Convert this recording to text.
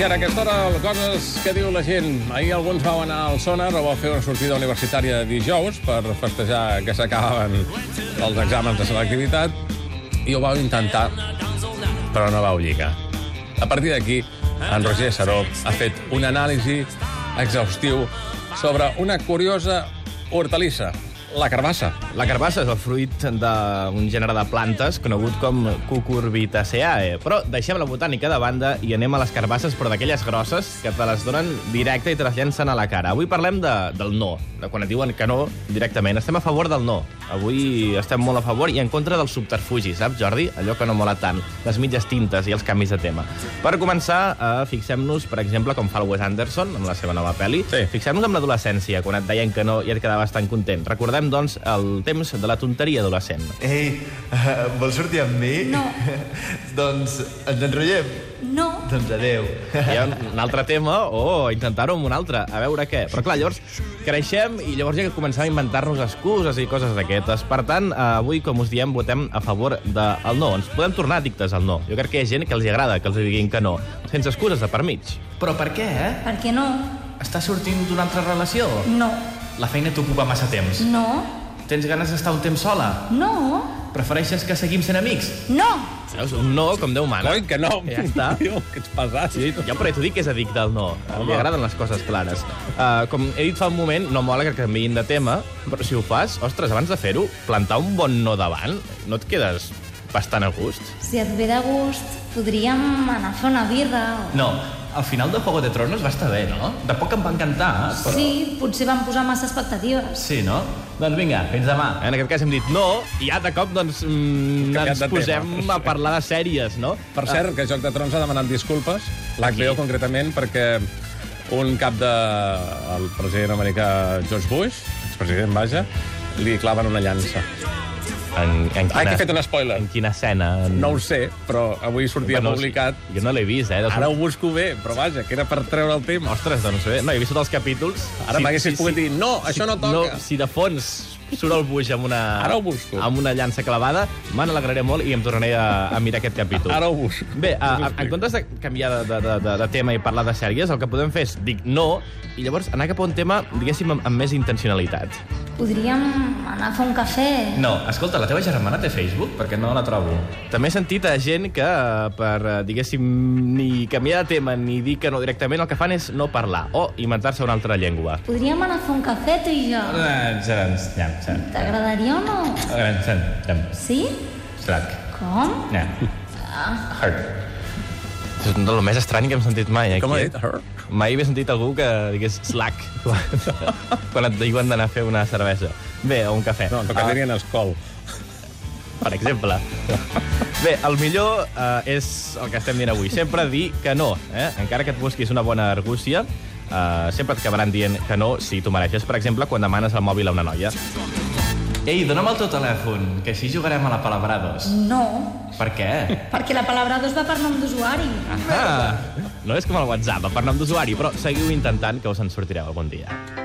I ara a aquesta hora, coses que diu la gent. Ahir alguns vau anar al sonar o vau fer una sortida universitària de dijous per festejar que s'acabaven els exàmens de selectivitat i ho vau intentar, però no vau lligar. A partir d'aquí, en Roger Saró ha fet un anàlisi exhaustiu sobre una curiosa hortalissa, la carbassa. La carbassa és el fruit d'un gènere de plantes conegut com Cucurbitaceae, però deixem la botànica de banda i anem a les carbasses, però d'aquelles grosses que te les donen directe i te les llencen a la cara. Avui parlem de, del no, de quan et diuen que no directament. Estem a favor del no. Avui estem molt a favor i en contra del subterfugi, saps, Jordi? Allò que no mola tant, les mitges tintes i els canvis de tema. Per començar, eh, fixem-nos, per exemple, com fa el Wes Anderson amb la seva nova pel·li. Sí. Fixem-nos amb l'adolescència, quan et deien que no i et quedaves tan content. Recordem, doncs, el temps de la tonteria adolescent. Ei, eh, vols sortir amb mi? No. doncs ens enrotllem? No. Doncs adeu. Hi ha un altre tema o intentar-ho amb un altre, a veure què. Però clar, llavors creixem i llavors ja que començar a inventar-nos excuses i coses d'aquestes. Per tant, eh, avui, com us diem, votem a favor del no. Ens podem tornar addictes al no. Jo crec que hi ha gent que els hi agrada que els diguin que no, sense excuses de per mig. Però per què, eh? Per què no? Estàs sortint d'una altra relació? No. La feina t'ocupa massa temps. No. Tens ganes d'estar un temps sola? No. Prefereixes que seguim sent amics? No. Veus? Un no, com Déu mana. Coi, que no! Ja està. Diu, que ets pesat. Sí, jo per t'ho dic que és addicte al no. Li agraden les coses clares. Uh, com he dit fa un moment, no mola que canviïn de tema, però si ho fas, ostres, abans de fer-ho, plantar un bon no davant, no et quedes bastant a gust? Si et ve de gust, podríem anar a fer una birra. O... No. Al final de Juego de Tronos va estar bé, no? De poc em va encantar, eh? però... Sí, potser vam posar massa expectatives. Sí, no? Doncs vinga, fins demà. En aquest cas hem dit no, i ja de cop doncs, mm, Canviat ens de tema. posem a parlar de sèries, no? Per cert, que Joc de Trons ha demanat disculpes, l'HBO concretament, perquè un cap de... el president americà George Bush, expresident, vaja, li claven una llança. En, en Ah, aquí he fet un spoiler. En quina escena? En... No ho sé, però avui sortia Bueno, publicat. Jo no l'he vist, eh? Doncs... Ara ho busco bé, però vaja, que era per treure el tema. Ostres, doncs bé, no, he vist tots els capítols. Ara m'haguessis pogut dir, "No, això no toca." No, si de fons surt el buix amb una... Ara ho busco. Amb una llança clavada, me n'alegraré molt i em tornaré a, a mirar aquest capítol. Ara ho busco. Bé, a, a, en explico. comptes de canviar de, de, de, de tema i parlar de sèries, el que podem fer és dir no i llavors anar cap a un tema, diguéssim, amb, amb més intencionalitat. Podríem anar a fer un cafè. No, escolta, la teva germana té Facebook? Perquè no la trobo. També he sentit a gent que, eh, per, eh, diguéssim, ni canviar de tema ni dir que no directament, el que fan és no parlar o inventar-se una altra llengua. Podríem anar a fer un cafè, tu i jo. Eh, Gerans, llam, sen. T'agradaria o no? Gerans, sen, llam. Sí? Strac. Com? Llam. Heart. És un del més estrany que hem sentit mai. eh, Aquí. Com ha dit? Her? Mai havia sentit algú que digués slack quan, quan et diuen d'anar a fer una cervesa. Bé, o un cafè. No, que Ah, tenien escol. per exemple. Bé, el millor eh, és el que estem dient avui. Sempre dir que no. Eh? Encara que et busquis una bona argúcia, eh, sempre et acabaran dient que no si t'ho mereixes. Per exemple, quan demanes el mòbil a una noia. Ei, dona'm el teu telèfon, que així jugarem a la Palabrados. No. Per què? Perquè la palabra dos va per nom d'usuari. Ah, no és com el WhatsApp, per nom d'usuari, però seguiu intentant que us en sortireu algun dia.